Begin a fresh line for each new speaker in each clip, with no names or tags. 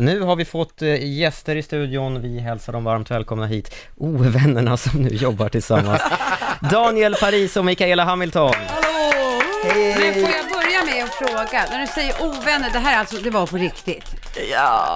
Nu har vi fått eh, gäster i studion. Vi hälsar dem varmt välkomna hit. Ovännerna som nu jobbar tillsammans. Daniel Paris och Mikaela Hamilton.
Men får jag börja med att fråga, när du säger ovänner, det här alltså, det var på riktigt?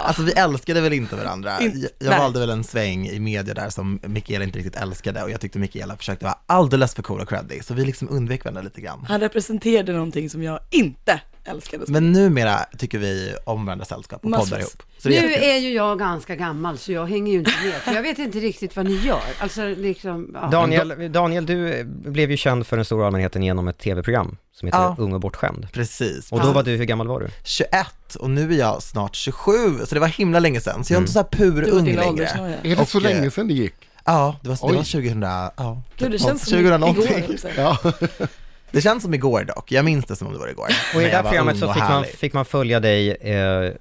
Alltså vi älskade väl inte varandra.
In-
Jag- jag
nej.
valde väl en sväng i media där som Mikaela inte riktigt älskade och jag tyckte Mikaela försökte vara alldeles för cool och creddig, så vi liksom undvek varandra lite grann.
Han representerade någonting som jag inte älskade.
Men numera tycker vi om varandras sällskap och
Massvis.
poddar ihop. Så det är
Nu
jättekul.
är ju jag ganska gammal så jag hänger ju inte med, för jag vet inte riktigt vad ni gör. Alltså liksom, ja.
Daniel, Daniel, du eh, blev ju känd för den stora allmänheten genom ett tv-program som heter
Ja.
Ung och bortskämd.
Precis.
Och då var du, hur gammal var du?
21 och nu är jag snart 27, så det var himla länge sedan. Så jag är inte så här pur
Det var
ung
din
längre.
åldersnoja.
Är det
Och,
så
eh,
länge sedan det gick?
Ja, det var, det
Oj.
var 2000, ja.
Du, det känns som
2000
igår,
någonting.
höll jag på att säga.
Ja.
Det känns som igår dock, jag minns det som om det var igår.
Och i det
När jag
här
var
programmet
ung
så
och
fick man,
härlig.
fick man följa dig, eh,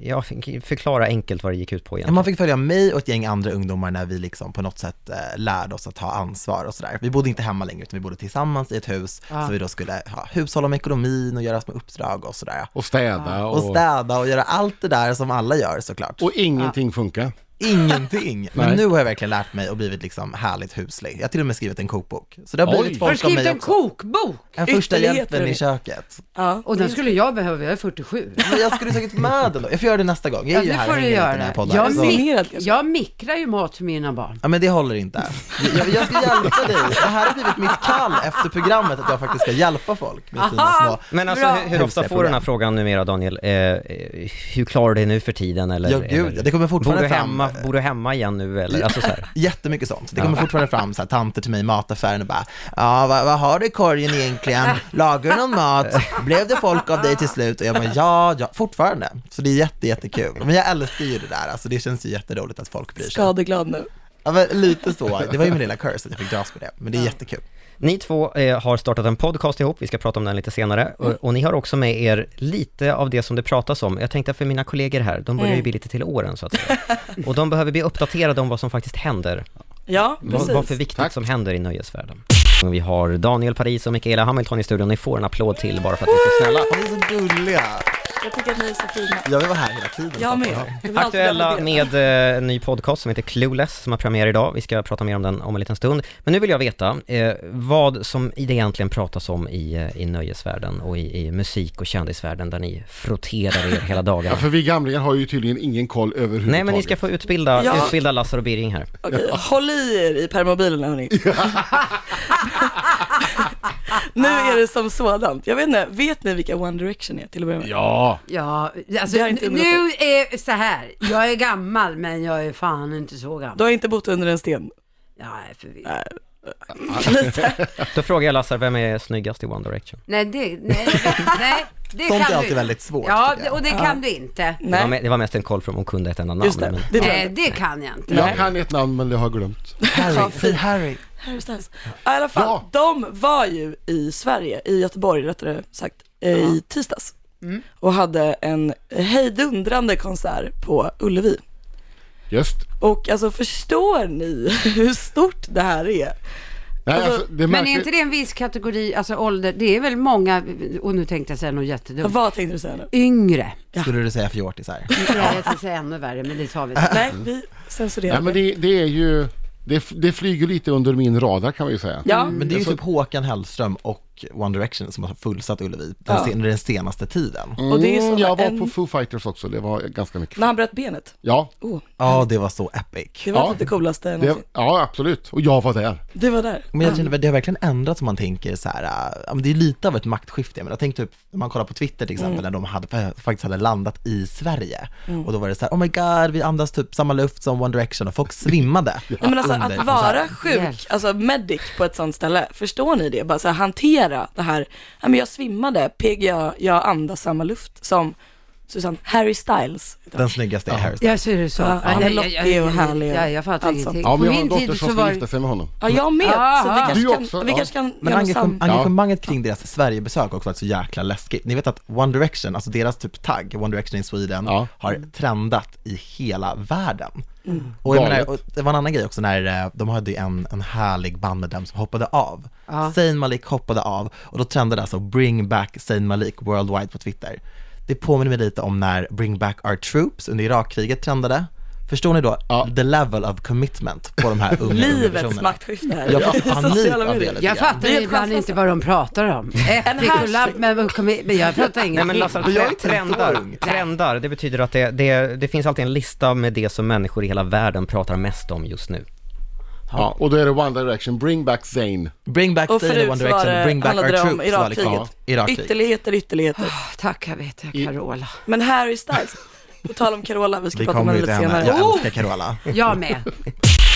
ja, förklara enkelt vad det gick ut på
Ja, man
egentligen.
fick följa mig och ett gäng andra ungdomar när vi liksom på något sätt eh, lärde oss att ta ansvar och sådär. Vi bodde inte hemma längre utan vi bodde tillsammans i ett hus,
Ja.
så vi då skulle ja, hushålla med ekonomin och göra små uppdrag och sådär.
Och städa och...
Och städa och göra allt det där som alla gör såklart.
och ingenting funkar.
Ingenting. Men
Nej.
nu har jag verkligen lärt mig och blivit liksom härligt huslig. Jag har till och med skrivit en kokbok. Så det har blivit
Oj.
Har du
folk om
skrivit
mig
en
också.
kokbok?
En första
Ytterligheter
hjälpen i
vi.
köket.
Ja.
Och den skulle jag behöva, jag är 47.
Men jag skulle säkert med den då. Jag får göra det nästa gång. Jag är ju
Ja, det
här
får
och
du göra.
hänger lite i den här podden.
Jag,
Alltså. så-
mik-
Planerat, kanske.
jag mikrar ju mat till mina barn.
Ja men det håller inte. Jag, jag ska hjälpa dig. Det här har blivit mitt kall efter programmet att jag faktiskt ska hjälpa folk med sina
Aha.
små...
Men alltså,
Bra.
hur, hur ofta får du den här frågan numera, Daniel? Eh, eh, hur klarar du dig nu för tiden? Eller,
Ja gud,
eller,
det kommer
bor,
fortfarande
du
fram
hemma, bor du hemma igen nu, eller? Alltså, så här.
jättemycket sånt. Det kommer fortfarande fram så här, tanter till mig i mataffären och bara ja vad, vad har du i korgen egentligen? Lagar du någon mat? Blev det folk av dig till slut? Och jag bara ja, ja, fortfarande. Så det är jätte, jättekul. Men jag älskar ju det där, alltså det känns ju jätteroligt att folk bryr sig.
Skadeglad nu.
Ja, men lite så, det var ju min lilla curse att jag fick dras med det, men det är jättekul.
Ni två eh, har startat en podcast ihop, vi ska prata om den lite senare. Och, och ni har också med er lite av det som det pratas om. Jag tänkte för mina kollegor här, de börjar ju bli lite till åren så att säga. Och de behöver bli uppdaterade om vad som faktiskt händer.
Ja,
Vad,
precis.
vad för viktigt som händer i nöjesvärlden. Vi har Daniel Paris och Mikaela Hamilton i studion. Ni får en applåd till bara för att ni är så snälla.
Snälla, ni är så gulliga.
Jag tycker att ni är så fina.
Jag vill vara här hela tiden.
Jag med.
Ja.
Jag vill alltid vara
Aktuella
del.
med eh, en ny podcast som heter Clueless som har premiär idag. Vi ska prata mer om den om en liten stund. Men nu vill jag veta eh, vad som i det egentligen pratas om i, eh, i nöjesvärlden och i, i musik och kändisvärlden där ni frotterar er hela dagarna.
Ja, för vi gamlingar har ju tydligen ingen koll överhuvudtaget.
Nej men ni ska få utbilda,
Ja.
utbilda Lassar och Birging här.
Okej, håll i er i permobilerna hörni. nu är det som sådant. Jag vet inte, vet ni vilka One Direction är till att börja med?
Ja,
Ja, alltså,
Det har inte
nu
undgått
är så här, jag är gammal men jag är fan inte så
Du
gammal.
har inte bott under en sten?
Jag är förvirrad.
Lite.
Då frågar jag Lassar, vem är snyggast i One Direction?
Nej, det, nej, nej, det
Sånt
kan
är
du
alltid
inte.
väldigt svårt.
Ja,
tycker jag.
och det kan du inte.
Det var,
Nej,
me- det var mest en koll från om hon kunde ett enda namn.
just det.
Men,
Det tror jag
Nej,
inte.
det kan jag inte.
jag kan ett namn men det har jag glömt.
Harry, säg Harry.
Harry Styles. Ja, I alla fall,
Ja.
de var ju i Sverige, i Göteborg rättare sagt, eh, i tisdags.
Mm.
Och hade en hejdundrande konsert på Ullevi.
Just.
Och alltså förstår ni hur stort det här är?
Nej,
Alltså,
alltså, det
Men
märker...
är inte det en viss kategori, alltså ålder, det är väl många, och nu tänkte jag säga något jättedumt,
Vad tänkte du säga nu?
yngre.
Skulle du säga fjortisar?
Mm.
Ja, jag tänkte säga ännu värre, men det tar vi sen.
Nej, vi censurerar.
Nej, men det, det är ju... Det, det flyger lite under min radar kan vi ju säga.
Ja,
Men det är ju typ Håkan Hellström och One Direction som har fullsatt Ullevi den,
Ja.
sen, den senaste tiden.
Mm,
och det är ju så
jag var
en-
på Foo Fighters också, det var ganska mycket.
när han bröt benet.
Ja,
Oh,
Ja, det var så epic.
det var
Ja.
typ det coolaste
det,
någonsin.
ja, absolut. Och jag var där.
Du var där.
Men jag känner, det har verkligen ändrats om man tänker så här, äh, ja, men det är lite av ett maktskifte. Jag menar, tänk typ, om man kollar på Twitter till
Mm.
exempel, när de hade, faktiskt hade landat i Sverige. Och då var det så här, oh my god, vi andas typ samma luft som One Direction och folk svimmade.
Nej, men alltså
under
att vara
konserten.
sjuk,
Hjälp.
alltså medic på ett sånt ställe, förstår ni det? Bara så här, hantera det här, ja men jag svimmade, pigg jag, jag andas samma luft som Susanne, Harry Styles.
Den snyggaste är Harry Styles.
Ja, så är det så.
Ja, han är lockig och härlig.
Ja, jag fattar
Alltså.
ingenting. På
Ja, men jag
min
har en dotter
tid
som
så
ska
var
gifta sig med honom.
Ja, jag med. Så
Aha.
vi kanske
Du
kan,
också,
vi
ja.
kanske kan
Men
göra
engagem-
sam-
engagemanget kring deras Sverigebesök har också varit så jäkla läskigt. Ni vet att One Direction, alltså deras typ tagg, One Direction in Sweden,
Ja.
har trendat i hela världen. Och, jag menar, och det var en annan grej också när eh, de hade ju en, en härlig bandmedlem som hoppade av.
Ja.
Zayn Malik hoppade av och då trendade alltså Bring Back Zayn Malik worldwide på Twitter. Det påminner mig lite om när Bring Back Our Troops under Irakkriget trendade. Förstår ni då
Ja.
the level of commitment på de här unga, unga
Livets
personerna?
maktskifte här.
Jag
i
får panik
sociala
av det
medier.
lite
Jag
grann.
fattar
Det är ett
ibland
chansfest.
inte vad de pratar om. Äppelkollab, men, kom i- men jag fattar ingenting.
Nej men Lasse,
Men jag är
tre-
inte
trendar,
för ung.
trendar, det betyder att det, det, det finns alltid en lista med det som människor i hela världen pratar mest om just nu.
Ja, och då är det One Direction, Bring Back Zayn.
Bring back
Och
the
förut
One
så var
Direction,
det,
bring back our
handlade det om
troops Ah. var liksom
Irakkriget.
Irakkriget.
Ytterligheter, ytterligheter.
Ah, Tack, jag vet, jag Carola.
Men Harry Styles, på tal om Carola, vi ska
Vi
prata om
kommer
henne
ju till
lite
henne,
senare.
jag
Oh!
älskar Carola.
Jag med.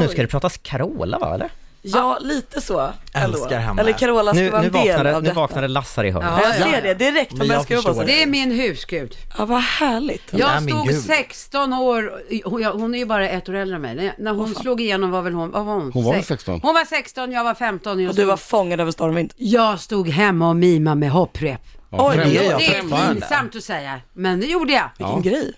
Nu ska det pratas Carola va, eller?
Ja, lite så. ändå.
Älskar henne.
Eller Carola ska
Nu,
vara
nu,
en del
vaknade,
av
nu
detta.
vaknade Lassar i hörnet.
Ja, jag
Ja,
ser
ja.
det direkt
Men
på
jag
mänskliga på
förstår
sig.
Det är min husgud.
Ja, vad härligt.
är
Jag
min
stod
gud.
16 år, hon, jag- hon är ju bara ett år äldre än mig. När- När hon slog igenom var väl hon, vad var hon?
Hon var väl
Sex-
16.
Hon var 16, jag var 15. Jag
Och du
stod,
var fångad över stormvind.
jag stod hemma och mimade med hopprep.
Ja,
Oj,
främst-
det
jag
det är
fortfarande.
pinsamt att säga, men det gjorde jag.
Vilken grej.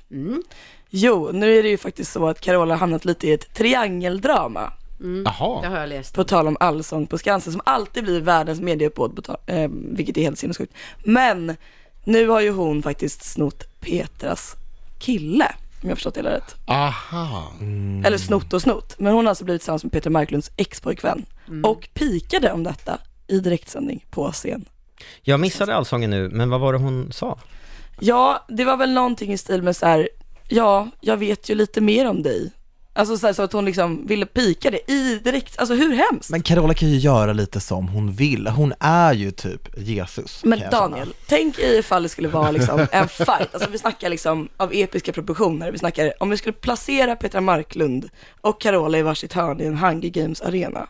Jo, nu är det ju faktiskt så att Carola har hamnat lite i ett triangeldrama.
Det
Jaha.
har jag läst.
På tal om Allsång på Skansen som alltid blir världens medieuppbåd, på ta- eh, vilket är helt sinnessjukt. Men nu har ju hon faktiskt snott Petras kille, om jag förstått det hela rätt.
Aha.
Eller snott och snott. Men hon har alltså blivit tillsammans med Peter Marklunds ex-pojkvän. Och pikade om detta i direktsändning på scen.
Jag missade allsången nu, men vad var det hon sa?
Ja, det var väl någonting i stil med så här, ja, jag vet ju lite mer om dig. Alltså så, här, så att hon liksom ville pika det i direkt, alltså hur hemskt? Men,
Men Carola kan ju göra lite som hon vill. Hon är ju typ Jesus. kan jag känna.
Daniel, tänk i ifall det skulle vara liksom en fight, alltså vi snackar liksom av episka proportioner, vi snackar om vi skulle placera Petra Marklund och Carola i varsitt hörn i en Hunger Games arena.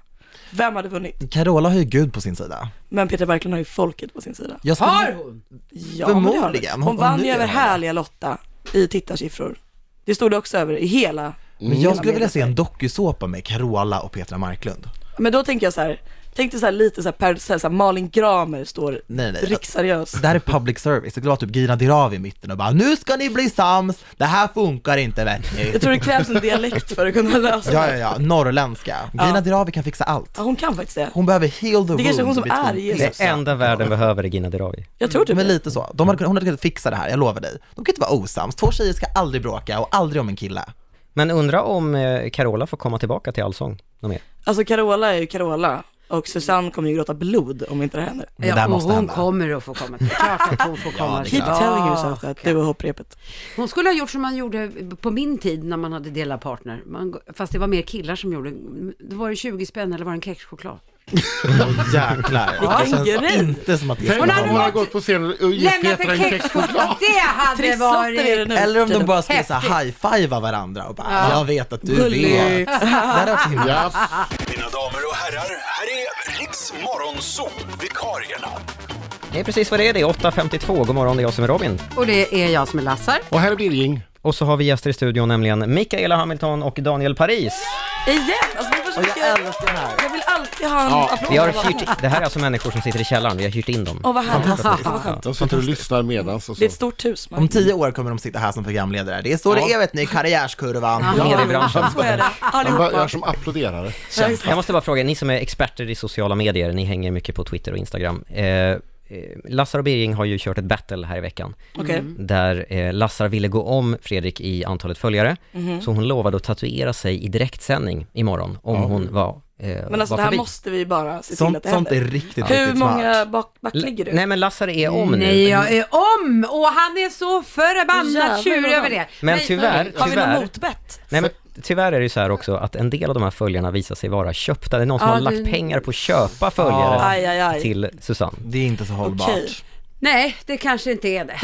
Vem hade vunnit?
Carola har ju Gud på sin sida.
Men Petra Marklund har ju folket på sin sida.
Jag skulle-
Har hon?
Ja, men det har hon.
Förmodligen. Hon-
Hon vann
hon
ju
är
över
det.
härliga Lotta i tittarsiffror. Det stod det också över i hela
Men jag skulle
Mm.
vilja se en dokusåpa med Carola och Petra Marklund.
Men då tänker jag så här, tänk dig så här lite så här, per, så här, så här Malin Gramer står
Nej, nej.
riksseriös.
Det här är public service, det skulle vara typ Gina Dirawi i mitten och bara nu ska ni bli sams, det här funkar inte vet ni.
Jag tror det krävs en dialekt för att kunna lösa
Ja,
det.
ja, ja, norrländska. Gina Dirawi kan fixa allt.
Ja, hon kan faktiskt det.
Hon behöver heal the
Det kanske är hon som
wound
är
between
Jesus.
Jesus
Det enda världen behöver är Gina Dirawi.
Jag tror typ
Men
det.
lite så. De hade, kunnat- hon hade kunnat fixa det här, jag lovar dig. De kan inte vara osams. Två tjejer ska aldrig bråka och aldrig om en kille.
Men undra om eh, Carola får komma tillbaka till allsång någon mer.
Alltså Carola är ju Carola och Susanne kommer ju gråta blod om inte det händer.
Men det här
Ja, och
måste
hon
hända.
kommer att få komma. Det är klart att hon får komma
det är
Keep
klart.
telling yourself that, du och hopprepet.
Hon skulle ha gjort som man gjorde på min tid när man hade delad partner. Man, fast det var mer killar som gjorde. Det var det 20 spänn eller var det en kexchoklad?
Åh jäklar. Det
Vilken
känns
grej.
inte som att det
Tänk
skulle
Hon
om
hade
hon hade
vara...
varit-
gått på scenen och gett
Lämnat
Petra
en
en kexchoklad.
kexchoklad! Det hade
Trisslotter är det
varit...
nu.
Eller om de bara skulle så
Häftigt.
här high-fiva varandra och bara, jag vet att du vet.
Gulligt.
Det här är också himla...
Ja,
Mina damer och herrar, här är Riks Morgonzoo, vikarierna.
Det är precis vad det är, det är 8.52, god morgon det är jag som är Robin.
Och det är jag som är Lassar.
och här är Birging.
Och så har vi gäster i studion, nämligen Mikaela Hamilton och Daniel Paris.
Igen! Alltså, vi
Och
försöker,
jag älskar det här.
jag vill alltid ha en
Ja.
applåd.
Vi har hyrt, det här är alltså människor som sitter i källaren, vi har hyrt in dem.
Åh vad härligt.
De sitter och lyssnar medans och
Det
så.
är ett stort hus.
Om
Man.
tio år kommer de sitta här som programledare. Det är så det är vet ni, karriärskurvan.
Mediebranschen.
Så är det.
De bara- jag är
Allihopa.
som applåderare.
Ja, exakt.
Jag måste bara fråga, ni som är experter i sociala medier, ni hänger mycket på Twitter och Instagram. Eh, eh, Lassar och Birging har ju kört ett battle här i veckan,
Okej.
Mm.
där eh, Lassar ville gå om Fredrik i antalet följare,
Mhm.
så hon lovade att tatuera sig i direktsändning imorgon, om hon var, eh,
Men alltså
var
det här
förbi.
måste vi bara se till att
Sånt,
det
sånt
händer.
är riktigt,
Hur
riktigt
många
smart.
bak, back lägger du?
Nej men Lassar är om nu.
Nej, jag är om! Och han är så
Jävlar,
förbannat tjur
vad
över
han-
det.
Men
Nej,
tyvärr,
nej.
Har vi
tyvärr.
något motbett?
Nej, men tyvärr är det ju så här också att en del av de här följarna visar sig vara köpta. Det är någon som
Ja,
har
du-
lagt pengar på att köpa följare
Ja.
Aj, aj, aj.
till Susanne.
Det är inte så hållbart.
Okej.
Nej, det kanske inte är det.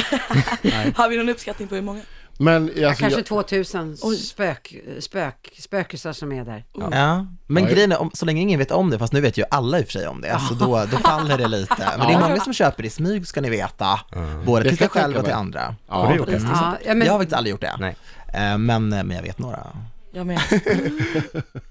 Har vi någon uppskattning på hur många?
Men alltså,
Kanske
jag,
2000 spök, spök, spökisar som är där.
Ja, men
Ja,
grejen är, om, så länge ingen vet om det, fast nu vet ju alla i och för sig om det, så då, då faller det lite. Men det är många som köper i smyg ska ni veta, både
Mm. Det
till sig
kan jag
själva och till
tänka
andra.
Har du gjort
det?
Ja, ja, men,
Jag har faktiskt aldrig gjort det,
Nej.
Eh, Men, men jag vet några.
Jag med.
Jag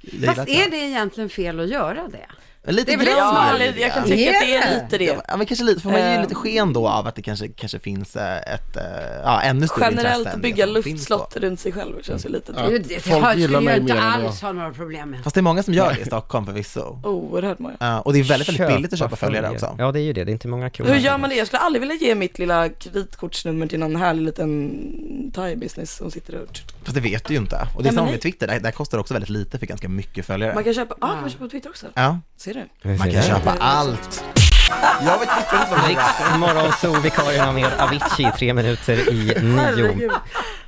gillar
fast
att jag-
är det egentligen fel att göra det?
Lite
Det är väl lite
grann.
Ja,
smart.
eller jag kan tycka att det är lite det.
Ja, men kanske lite, för man ger ju
Eh.
lite sken då av att det kanske, kanske finns eh, ett, eh, ja, ännu större
Generellt
intresse än
att
det
bygga
som liksom finns då.
luftslott runt sig själv känns ju lite
Ja.
tråkigt.
Det, det,
Folk
det
gillar
skulle
mig
jag inte
mer än vad
alls ha några problem med.
Fast det är många som gör det i Stockholm förvisso.
Oerhört många.
Ja, och det är väldigt, väldigt billigt att köpa följare också.
Ja, det är ju det. Det är inte många kronor.
Hur gör man det? Jag skulle aldrig vilja ge mitt lilla kreditkortsnummer till någon härlig liten thai-business som sitter och...
Fast det vet du ju inte. Och det är
Nej,
samma
men
med
nej.
Twitter, där, där kostar det också väldigt lite för ganska mycket följare.
Man kan köpa, ah, man kan köpa på Twitter också.
ja,
Ser du?
man kan köpa allt. Alltså, Jag vet inte vad det är.
Morgonzoo-vikarierna med Avicii, tre minuter i nio.
Herregud.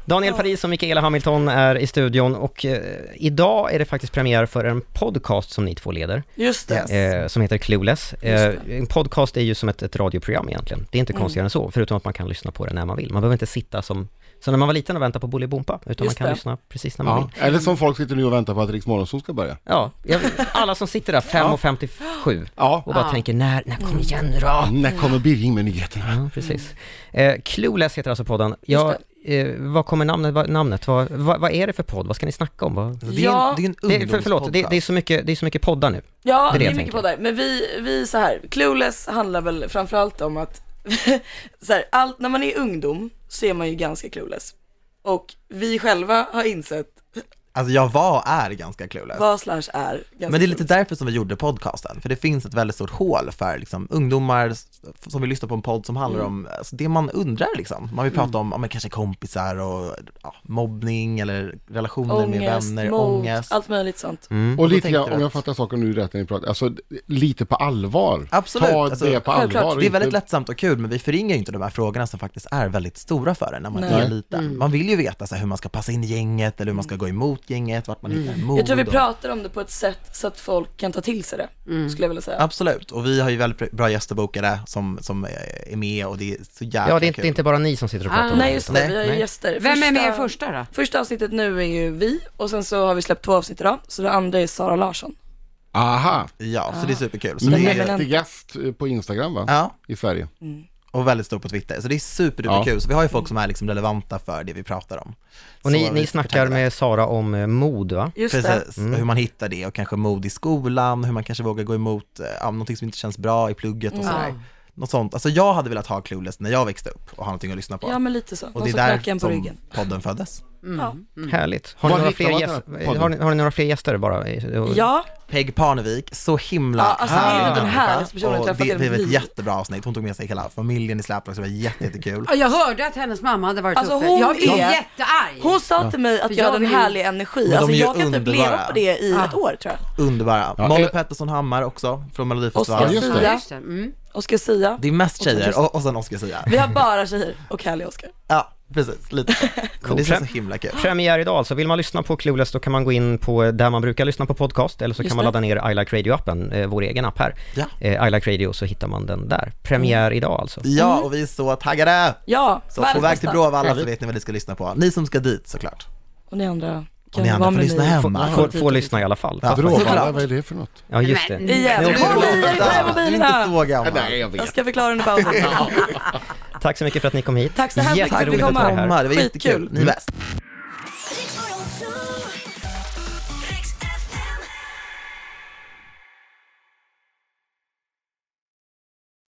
Daniel Paris och Mikaela Hamilton är i studion och eh, idag är det faktiskt premiär för en podcast som ni två leder,
Just det.
Yes.
eh, som heter Clueless. Eh, en podcast är ju som ett, ett radioprogram egentligen. Det är inte konstigare än så, förutom att man kan lyssna på det när man vill. Man behöver inte sitta som, som när man var liten och vänta på Bolibompa, utan man
Just
kan
det.
lyssna precis när man
Ja.
vill.
Eller som folk sitter nu och väntar på att Riks Morgonzoo ska börja.
Ja, jag, alla som sitter där 5.57
Ja.
och bara
Ja.
tänker när, när kom igen nu då?
När kommer Birging med nyheterna?
Mm.
Ja, precis. Eh, Clueless heter alltså podden. Ja, eh, vad kommer namnet? Vad, namnet vad, vad, vad är det för podd? Vad ska ni snacka om? Vad,
Det är ju en, det är ju en
det, är- för,
ungdomspodcast.
förlåt, det, det, är så mycket, det är så mycket poddar nu.
Ja,
Det är det
det är,
jag
mycket
tänker.
poddar. Men vi, vi så här, Clueless handlar väl framförallt om att, så här, allt, när man är ungdom så är man ju ganska clueless. Och vi själva har insett
Alltså jag var, är ganska clueless.
vad slash är ganska
Men det är lite
clueless.
därför som vi gjorde podcasten, för det finns ett väldigt stort hål för liksom, ungdomar s- som vill lyssna på en podd som handlar om alltså, det man undrar liksom. Man vill prata om, ja, men kanske kompisar och ja, mobbning eller relationer med
Ångest,
vänner,
mod,
ångest. Mm.
allt möjligt sånt.
Och
då
lite
tänkte
grann,
du
om jag
att-
fattar saker nu rätt när ni pratar, alltså lite på allvar.
Absolut,
Ta
alltså,
det på
självklart.
allvar. och
Det är väldigt
inte-
lättsamt och kul, men vi förringar ju inte de här frågorna som faktiskt är väldigt stora för en när man
Nej. Mm.
är liten. Man vill ju veta så här, hur man ska passa in i gänget eller hur man ska gå emot gänget, vart man hittar mod.
Mm. Jag tror vi
och-
pratar om det på ett sätt så att folk kan ta till sig det,
Mm.
skulle jag vilja säga.
Absolut, och vi har ju väldigt bra gäster bokade som, som eh, är med och det är så jävla
Ja, det är, inte,
kul.
det är inte bara ni som sitter och pratar
Ah,
om det.
Nej just det,
Nej.
vi har ju
Nej.
gäster.
Vem är med i första då?
Första avsnittet nu är ju vi och sen så har vi släppt två avsnitt idag, så det andra är Sara Larsson.
Aha,
Ja, så det är superkul. Så det är,
men-
mäktigast eh, på Instagram va?
ja,
I Sverige.
och väldigt stor på Twitter. Så det är superduperkul. Så vi har ju folk som är liksom relevanta för det vi pratar om.
Och
Så
ni,
vi
ni snackar med Sara om eh, mod, va?
Just det.
Mm.
Precis, hur man hittar det och kanske mod i skolan, hur man kanske vågar gå emot eh, ja, någonting som inte känns bra i plugget
Mm.
och sådär. Något sånt. Alltså jag hade velat ha Clueless när jag växte upp och ha någonting att lyssna på.
Ja men lite så.
och
Någon
det
som
är
knackar
där
en på
som
ryggen.
podden föddes.
Mm.
Ja.
Härligt. Har ni,
Var
några
hittar
fler
man den här
gäster,
podden?
har, ni, har ni några fler gäster bara?
ja,
Peg Parnevik, så himla
Ja, alltså, det är
härlig
den här
människa.
personen
och
träffat
det
i
blev ett
livet.
jättebra avsnitt. Hon tog med sig hela familjen i släplag, så det var jätte, jättekul.
Ja, Jag hörde att hennes mamma hade varit
Alltså,
uppe.
hon
jag blev
är-
jättearg.
hon sa till mig att
För
jag
jag
hade en
vill- Ah.
härlig energi.
de
Alltså
är ju
jag kan typ leva
underbara.
på det i ett år tror jag.
Underbara.
Ja,
Molly
eh,
Pettersson Hammar också, från
Oscar
Melodifestivalen.
just det.
Ja,
Sia,
just det. Mm.
Oscar Sia.
Det är mest
sen
tjejer
Kristin.
och, och sen Oscar Zia.
Vi har bara tjejer och härliga Oscar.
Ja, precis. Lite så. Men Det känns så himla kul.
Premiär idag alltså. Vill man lyssna på Clueless då kan man gå in på eh, där man brukar lyssna på podcast eller så
Just
kan man
det.
ladda ner I Like Radio-appen, eh, vår egen app här.
Ja.
Eh, I Like Radio så hittar man den där. Premiär
Mm.
idag alltså.
Ja, och vi är så taggade!
Ja,
Så på
världens
väg till
bästa.
Bråvalla så vet ni vad ni ska lyssna på. Ni som ska dit såklart.
Och ni andra
Och
kan
ni
vara
andra får
med
lyssna
mig.
hemma.
Får, får lyssna i alla fall.
Ja.
Bråvalla,
Såklart.
vad är det för något?
Ja, just det.
Igen.
Du är
Håll i
inte
dig,
så-
på
du är inte
mobilerna.
så gammal.
jag vet.
Jag ska förklara under pausen.
Tack så mycket för att ni kom hit.
Tack så hemskt mycket för att vi
Jätteroligt
fick
att ha er här.
komma.
Sommar, Det var
Skitkul.
jättekul. Ni är bäst.